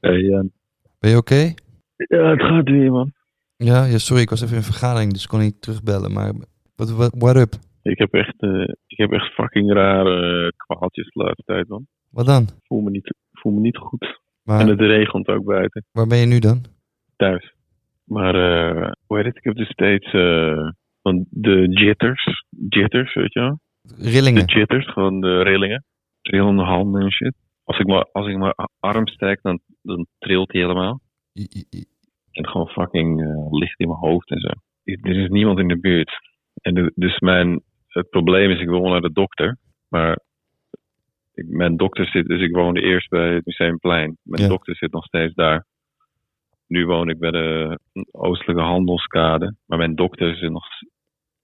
Hey, Jan. Ben je oké? Eh, Ja, het gaat weer, man. Ja, ja, sorry, ik was even in een vergadering, dus kon niet terugbellen. Maar wat, wat what up? Ik heb echt, eh, ik heb echt fucking rare eh, kwaaltjes de laatste tijd, man. Wat dan? Ik voel me niet, ik voel me niet goed. En Maar het regent ook buiten, waar ben je nu dan? thuis. Maar, eh, hoe heet het? Ik heb dus steeds eh, van de jitters. Jitters, weet je wel? De Rillingen. jitters, gewoon de rillingen. Trillende handen en shit. Als ik maar, als ik maar arm steek, dan, dan trilt hij helemaal. I- i- i- En gewoon fucking eh, licht in mijn hoofd en zo. Ik- Er is niemand in de buurt. En de- dus mijn, het probleem is, ik wil naar de dokter. Maar ik, mijn dokter zit, dus ik woonde eerst bij het Museumplein. Mijn Ja. dokter zit nog steeds daar. Nu woon ik bij de Oostelijke Handelskade. Maar mijn dokter zit nog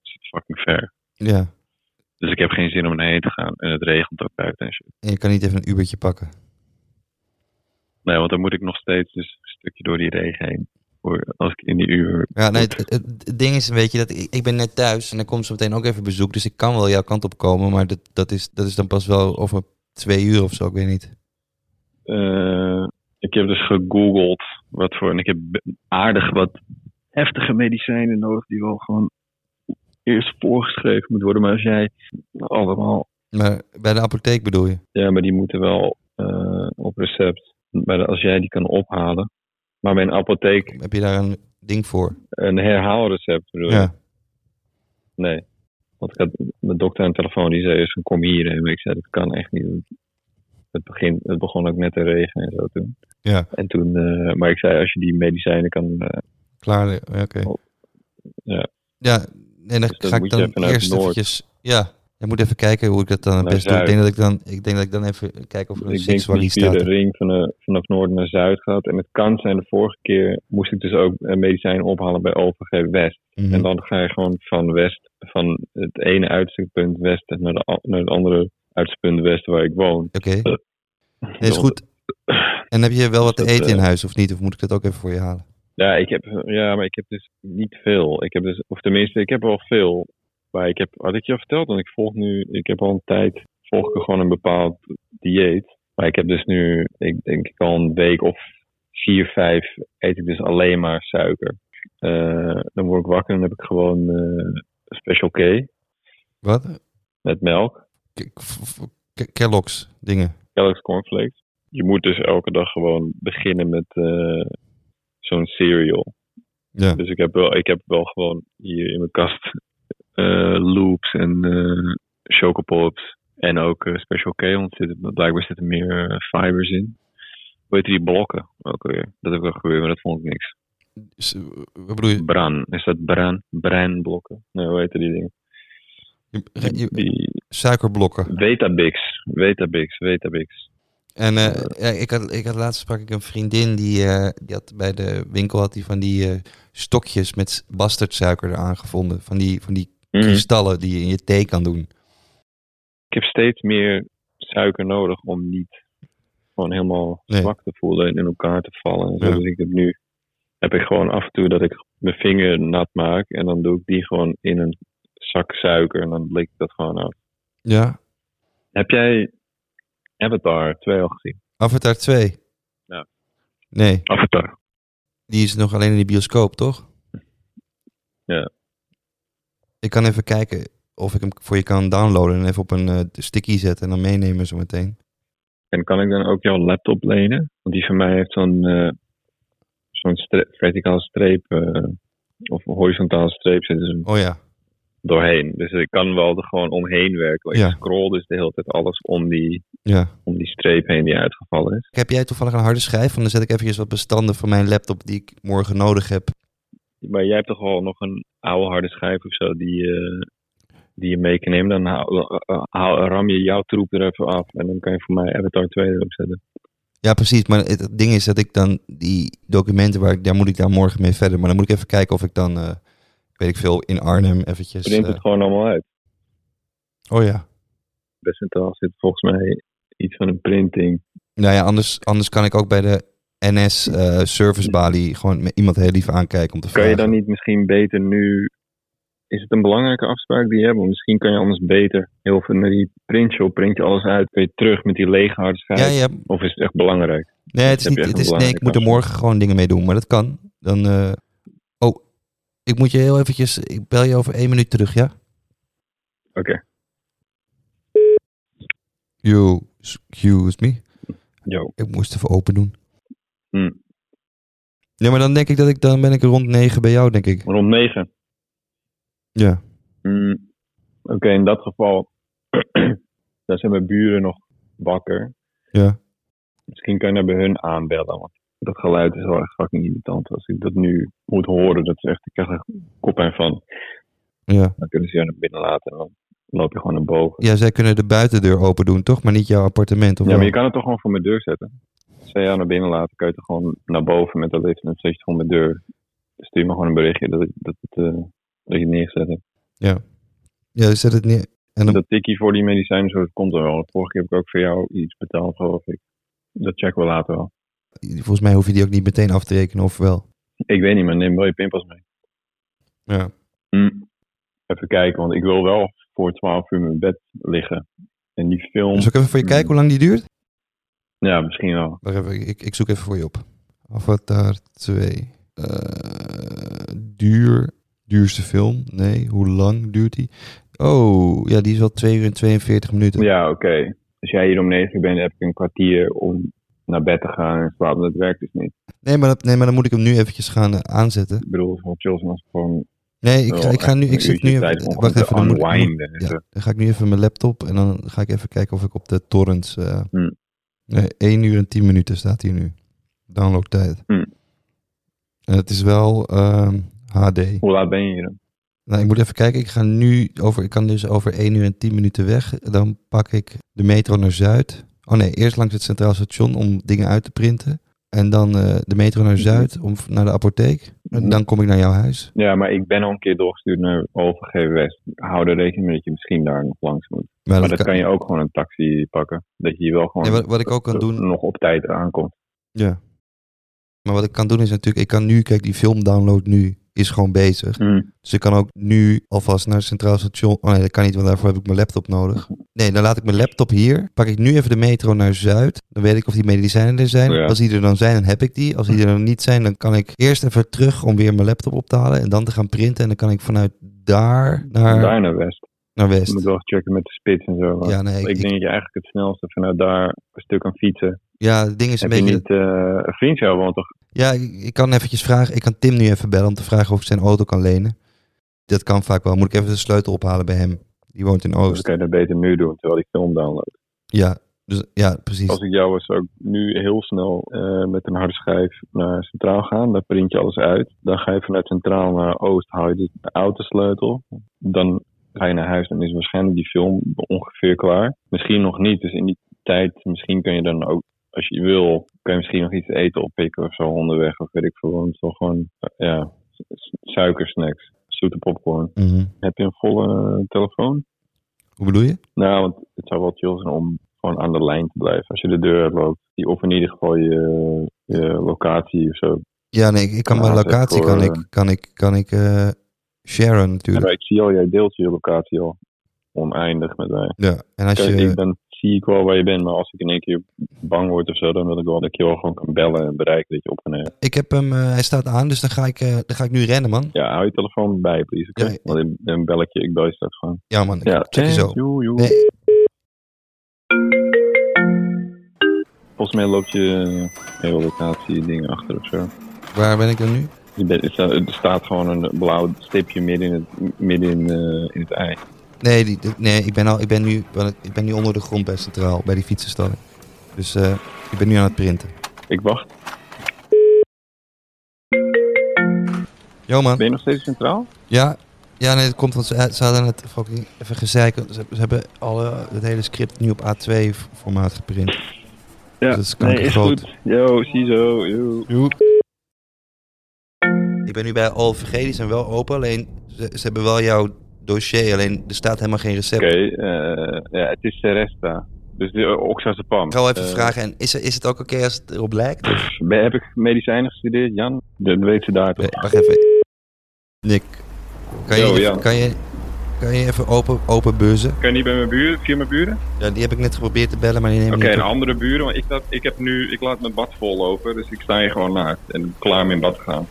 zit fucking ver. Ja, Dus ik heb geen zin om heen te gaan. En het regent ook buiten en shit. en je kan niet even een Ubertje pakken. Nee, want dan moet ik nog steeds dus een stukje door die regen heen. Voor, als ik in die uur... Ja, nee, het, het- het ding is een beetje dat ik, ik ben net thuis en er komt zo meteen ook even bezoek. Dus ik kan wel jouw kant op komen, maar dat, dat, is, dat is dan pas wel over twee uur of zo, ik weet niet. Eh, ik heb dus gegoogeld wat voor. En ik heb be- aardig wat heftige medicijnen nodig die wel gewoon eerst voorgeschreven moeten worden. Maar als jij allemaal. Maar bij de apotheek bedoel je? Ja, maar die moeten wel eh, op recept. Maar als jij die kan ophalen. Maar bij een apotheek Heb je daar een ding voor? een herhaalrecept bedoel je? Ja. Nee. Want ik had mijn dokter aan de telefoon die zei eerst van kom hier. En ik zei dat kan echt niet. Het, begin, het begon ook net te regenen en zo toen. Ja. En toen, eh, maar ik zei als je die medicijnen kan eh, Klaar, ja, oké. Oh. Ja. Ja, nee, dan Dus dat ga ik moet je dan even naar het eerst noord. eventjes... Ja, ik moet even kijken hoe ik dat dan het Naar best doe. Ik zuid. denk dat ik dan, ik denk dat ik dan even kijk of er een ik denk Sixwally dat via de staat. ring van de, vanaf noord naar zuid gaat. En het kan zijn, de vorige keer moest ik dus ook eh, medicijnen ophalen bij OVG West. Mhm. En dan ga je gewoon van west, van het ene uitzichtpunt west naar, de, a- naar het andere uitzichtpunt west waar ik woon. Oké, nee, is goed. En heb je wel wat te dat, eten in eh, huis of niet? Of moet ik dat ook even voor je halen? Ja, ik heb, ja, maar ik heb dus niet veel. Ik heb dus, of tenminste, ik heb wel veel. Maar ik heb, had ik je al verteld, want ik volg nu, ik heb al een tijd, volg ik gewoon een bepaald dieet. Maar ik heb dus nu, ik denk ik al een week of vier, vijf, eet ik dus alleen maar suiker. Eh, dan word ik wakker en dan heb ik gewoon eh, Special K Wat? met melk, K- f- f- K- Kellogg's dingen. Kellogg's cornflakes. Je moet dus elke dag gewoon beginnen met eh, zo'n cereal. Ja. Dus ik heb wel, ik heb wel gewoon hier in mijn kast eh, loops en eh chocopops. En ook eh, Special K, want er zitten- blijkbaar zitten meer eh, fibers in. Weet je die blokken ook alweer? Dat heb ik al gebeurd, maar dat vond ik niks. Dus, eh, Wat bedoel je? Bran, is dat bran? Branblokken? Nee, hoe heet die dingen? Je- je- je- Die suikerblokken. Wetabix, Wetabix, Wetabix. En eh, ja, ik, had, ik had laatst sprak ik een vriendin die, eh, die had bij de winkel had die van die eh, stokjes met bastardsuiker eraan gevonden. Van die, van die Mm. kristallen die je in je thee kan doen. Ik heb steeds meer suiker nodig om niet gewoon helemaal Nee. zwak te voelen en in elkaar te vallen. en zo. Ja. Dus ik heb nu heb ik gewoon af en toe dat ik mijn vinger nat maak en dan doe ik die gewoon in een zak suiker en dan leek ik dat gewoon af. Ja. Heb jij Avatar 2 al gezien? Avatar 2. Ja. Nee, Avatar. die is nog alleen in de bioscoop, toch? Ja. Ik kan even kijken of ik hem voor je kan downloaden en even op een eh, sticky zetten en dan meenemen zo meteen. En kan ik dan ook jouw laptop lenen? Want die van mij heeft zo'n eh zo'n stre- verticale streep eh, of horizontale streep zit dus een Oh ja. doorheen. Dus ik kan wel er gewoon omheen werken. Ik Ja. scroll dus de hele tijd alles om die, Ja. om die streep heen die uitgevallen is. Heb jij toevallig een harde schijf? Want dan zet ik eventjes wat bestanden van mijn laptop die ik morgen nodig heb. Maar jij hebt toch wel nog een oude harde schijf of zo die... eh, die je mee kan nemen, dan haal, eh, haal- ram je jouw troep er even af. En dan kan je voor mij Avatar 2 erop zetten. Ja, precies. Maar het, het ding is dat ik dan die documenten, waar ik, daar moet ik daar morgen mee verder. Maar dan moet ik even kijken of ik dan, eh, weet ik veel, in Arnhem eventjes... Print het eh, gewoon allemaal uit. oh ja. Bij Centraal zit volgens mij iets van een printing. Nou ja, anders, anders kan ik ook bij de NS eh servicebalie gewoon met iemand heel lief aankijken om te Kan vragen. je dan niet misschien beter nu... Is het een belangrijke afspraak die je hebt? Want misschien kan je anders beter heel veel naar die printshop. Print je alles uit, kun je terug met die lege harde schijf. Ja, ja. Of is het echt belangrijk? Nee, het is Heb je niet, echt het een is, nee, ik belangrijke moet er morgen gewoon dingen mee doen, maar dat kan. Dan, eh, oh, ik moet je heel eventjes, ik bel je over één minuut terug, ja? Oké. Yo, excuse me. Yo. Ik moest even open doen. Hm. Ja, maar dan denk ik dat ik, dan ben ik rond negen bij jou, denk ik. Rond 9. Ja. Mm, Oké, in dat geval, daar zijn mijn buren nog wakker. Ja. Misschien kan je daar bij hun aanbellen, want dat geluid is wel echt fucking irritant. Als ik dat nu moet horen, dat is echt, ik krijg er koppijn van. Ja. Dan kunnen ze jou naar binnen laten en dan loop je gewoon naar boven. ja, zij kunnen de buitendeur open doen, toch? Maar niet jouw appartement, of Ja, wel? maar je kan het toch gewoon voor mijn deur zetten. Als zij jou naar binnen laten, kan je het gewoon naar boven met dat lift en dan zet je het gewoon mijn deur. Stuur me gewoon een berichtje dat, ik- dat, het, eh, dat je het neergezet hebt. Ja, zet het neer. En dan, Dat tikkie voor die medicijnen, zo, dat komt er wel. Vorige keer heb ik ook voor jou iets betaald, geloof ik. Dat checken we later wel. volgens mij hoef je die ook niet meteen af te rekenen, of wel? Ik weet niet, maar neem wel je pinpas mee. Ja. Hm. Even kijken, want ik wil wel voor 12 uur in mijn bed liggen. En die film, Dus Zal ik even voor je Hm. kijken hoe lang die duurt? ja, misschien wel. Wacht even, ik, ik zoek even voor je op. Avatar 2. Eh, duur, duurste film? Nee, hoe lang duurt die? Oh, ja, die is wel 2 uur en 42 minuten. Ja, oké. Als jij hier om 9 uur bent, heb ik een kwartier om naar bed te gaan en slapen. Dat werkt dus niet. Nee, maar dat, nee, maar dan moet ik hem nu eventjes gaan eh, aanzetten. Ik bedoel, van chills als gewoon... Nee, ik, ga- wel ik ga echt nu, een ik zit uurtje nu tijd even, om wacht te even, dan, moet, dan moet- unwinden en ja. zo. dan ga ik nu even mijn laptop en dan ga ik even kijken of ik op de torrents... eh Hm. nee, 1 uur en 10 minuten staat hier nu. Downloadtijd. Hm. En het is wel ehm, HD. Hoe laat ben je hier? dan? Nou, ik moet even kijken. Ik ga nu over. Ik kan dus over 1 uur en 10 minuten weg. Dan pak ik de metro naar Zuid. Oh nee, eerst langs het Centraal Station om dingen uit te printen. En dan eh, de metro Mhm. naar Zuid om naar de apotheek. En dan kom ik naar jouw huis. Ja, maar ik ben al een keer doorgestuurd naar Overgeven West. Hou er rekening mee dat je misschien daar nog langs moet. Maar Maar dat kan je ook gewoon een taxi pakken. Dat je hier wel gewoon Ja, wat, wat ik ook kan doen. nog op tijd aankomt. Ja. Maar wat ik kan doen is natuurlijk. Ik kan nu. Kijk, die filmdownload nu is gewoon bezig. Hm. Dus ik kan ook nu alvast naar het Centraal Station. Oh nee, dat kan niet, want daarvoor heb ik mijn laptop nodig. Nee, dan laat ik mijn laptop hier. Pak ik nu even de metro naar Zuid. Dan weet ik of die medicijnen er zijn. Oh Ja. Als die er dan zijn, dan heb ik die. Als die er dan niet zijn, dan kan ik eerst even terug om weer mijn laptop op te halen. En dan te gaan printen. En dan kan ik vanuit daar naar, Daar naar West. naar Je moet West. wel checken met de spits en zo. want Ja, nee, ik, ik, ik- denk dat je eigenlijk het snelste vanuit daar een stuk kan fietsen. ja, het ding is een Heb je beetje... Oh, niet eh, een vriend jou woont toch? Ja, ik, ik kan eventjes vragen. Ik kan Tim nu even bellen om te vragen of ik zijn auto kan lenen. Dat kan vaak wel. Moet ik even de sleutel ophalen bij hem. Die woont in Dus Oost. kan je dat beter nu doen, terwijl ik film download. Ja, dus, ja precies. Als ik jou was, zou ik nu heel snel eh, met een harde schijf naar Centraal gaan. Daar print je alles uit. Dan ga je vanuit Centraal naar Oost, haal je de autosleutel. Dan ga je naar huis, dan is waarschijnlijk die film ongeveer klaar. Misschien nog niet, dus in die tijd, misschien kun je dan ook, als je wil, kun je misschien nog iets te eten oppikken of zo onderweg. Of weet ik veel, want het is wel gewoon, eh, ja, su- suikersnacks, zoete popcorn. Mhm. Heb je een volle eh, telefoon? Hoe bedoel je? Nou, want het zou wel chill zijn om gewoon aan de lijn te blijven. Als je de deur uitloopt, die, of in ieder geval je, je locatie of zo. Ja, nee, ik- ik kan Ja, mijn dat is locatie voor, kan eh, ik, kan ik, kan ik eh, sharen Ja, natuurlijk. maar ik zie al, jij deelt je locatie al oneindig met mij. Ja, en als Kijk, ik, je, dan zie ik wel waar je bent, maar als ik in één keer bang word of zo, dan wil ik wel dat ik je wel gewoon kan bellen en bereiken dat je op kan nemen. ik heb hem, eh, hij staat aan, dus dan ga ik, eh, dan ga ik nu rennen, man. Ja, hou je telefoon bij, please. oké? Ja, ja. Want ik- dan bel ik je, ik bel je straks gewoon. Ja, man, Ja, check je zo. thanks, joe, joe. Nee. Volgens mij loopt je eh, hele locatie dingen achter of zo. Waar ben ik dan nu? Je bent- er staat- er staat gewoon een blauw stipje midden in het, midden in, eh, in het ei. Nee, die, die- nee ik, ben al, ik, ben nu, ik ben nu onder de grond bij Centraal, bij die fietsenstalling. Dus eh, ik ben nu aan het printen. Ik wacht. Yo, man. Ben je nog steeds centraal? Ja, Ja, nee, het komt, want ze, ze hadden het fucking even gezeik. want Ze, ze hebben alle, het hele script nu op A2-formaat geprint. Ja, Dus dat is nee, is kankergroot. goed. Yo, ziezo, yo. Ik ben nu bij OLVG, die zijn wel open, alleen ze, ze hebben wel jouw dossier, alleen er staat helemaal geen recept. Oké, eh, ja, het is Seresta. Dus de uh, oxazepam. Ik ga wel even Eh, vragen, en is, er- is het ook oké als het erop lijkt? Of- ben- heb ik medicijnen gestudeerd, Jan? Dat weet ze daar toch. Nee, eh, wacht even. Nick, kan je, Yo, even- Jan. kan je, kan je even open, open beuzen? Kan je niet bij mijn buren, via mijn buren? Ja, die heb ik net geprobeerd te bellen, maar die neemt Oké, nou, niet een op. andere buren, want ik, dat, ik, heb nu, ik laat mijn bad vol lopen, dus ik sta hier gewoon naakt en klaar om in bad te gaan.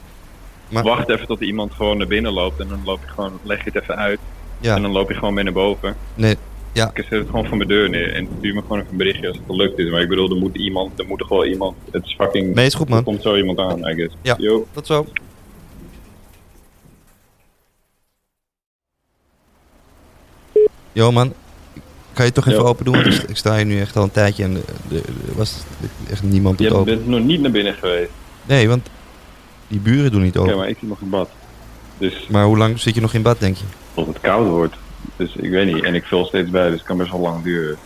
Maar- Wacht even tot iemand gewoon naar binnen loopt en dan loop je gewoon, leg je het even uit en Ja, dan loop je gewoon mee naar boven. nee, ja. Ik zet het gewoon van mijn deur neer en stuur me gewoon even een berichtje als het gelukt is. Maar ik bedoel, er moet iemand, er moet toch wel iemand, het is fucking, Nee, is goed er man. komt zo iemand aan, I guess. Ja. Yo. Tot zo. Yo man, kan je toch even Yo. open doen? Want ik sta- ik sta hier nu echt al een tijdje en er- er- er was echt niemand op Je het hebt- open. bent nog niet naar binnen geweest. Nee, want die buren doen niet Oké, open. maar ik zit nog in bad. Dus Maar hoe lang zit je nog in bad, denk je? tot het koud wordt. Dus ik weet niet. En ik vul steeds bij, dus het kan best wel lang duren.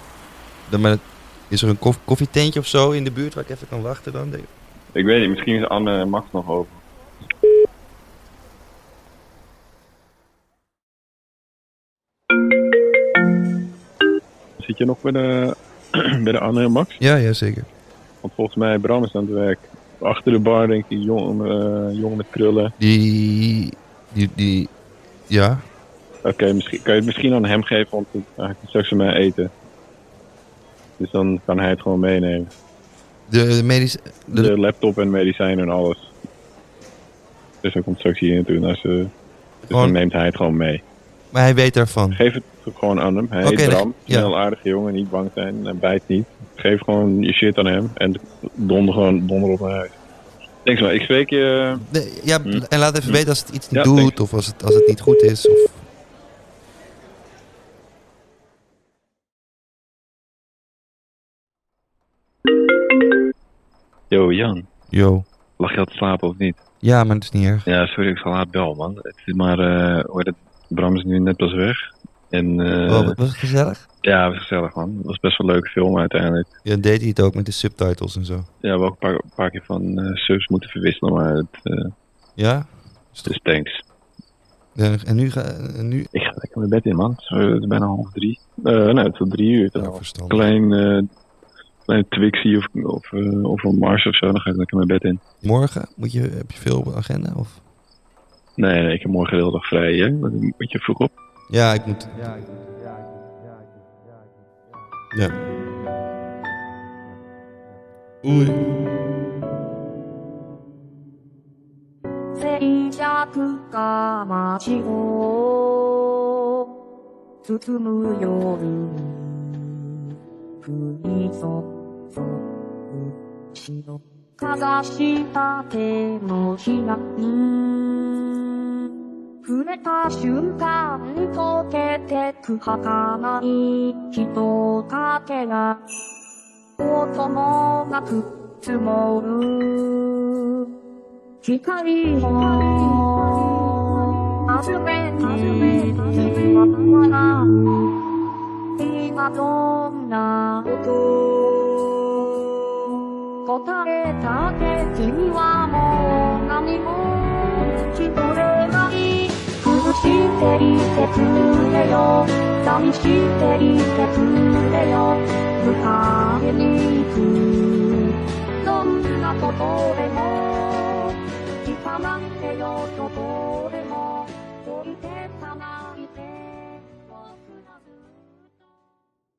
Dan, maar, is er een koff- koffietentje of zo in de buurt waar ik even kan wachten dan? Nee. Ik weet niet, misschien is Anne en Max nog open. Zit je nog bij de, bij de Anne en Max? Ja, ja, zeker. Want volgens mij Bram is aan het werk. Achter de bar denk ik, jong, eh, jong met krullen. Die, die, die, ja. Oké, misschien kan je het misschien aan hem geven, want het- hij kan straks mij eten. Dus dan kan hij het gewoon meenemen. De, de medisch... de- De, laptop en medicijnen en alles. Dus dan komt straks hier naartoe. Nou, ze, dus Gewoon- dan neemt hij het gewoon mee. maar hij weet daarvan. Geef het gewoon aan hem. Hij Oké, heet dan- Bram. ja. Snel aardige jongen, niet bang zijn. Hij bijt niet. Geef gewoon je shit aan hem. En donder gewoon donder op mijn huis. Thanks man, ik spreek je. Nee, ja, Hm. en laat even weten als het iets niet Ja, doet thanks. of als het, als het niet goed is. Of... Yo Jan, Yo. lag je al te slapen of niet? Ja, maar het is niet erg. Ja, sorry, ik zal laat bel man. Het is maar, eh, hoe heet het? Bram is nu net pas weg. En eh, Oh, wat was het gezellig? ja, het was gezellig man. Het was best wel een leuke film uiteindelijk. Ja, deed hij het ook met de subtitles en zo. Ja, we hebben ook een paar, een paar keer van eh, subs moeten verwisselen, maar het, eh, Ja? Dus thanks. Ja, En nu... Ga, en nu... Ik ga lekker mijn bed in, man. Zo, Het is bijna half drie. Eh nee, tot drie uur. Ja, trouwens. verstandig. Klein, eh klein Twixie of, of, eh, of een Mars of zo, dan ga ik lekker mijn bed in. Morgen moet je, heb je veel op de agenda? Of? Nee, nee, ik heb morgen de hele dag vrij, hè. Dan moet je vroeg op. Ja, ik moet... Ja. Oei. 先着が街を包むように降り注ぐ白かざした手のひらに触れた瞬間溶けてく儚い人影が音もなく積もる光を集めに行ったら今どんな音答えたって君はもう何も聞こえない苦しんでいてくれよ寂しんでいてくれよ迎えに行くどんなことでも聞かないでよどこでも置いてく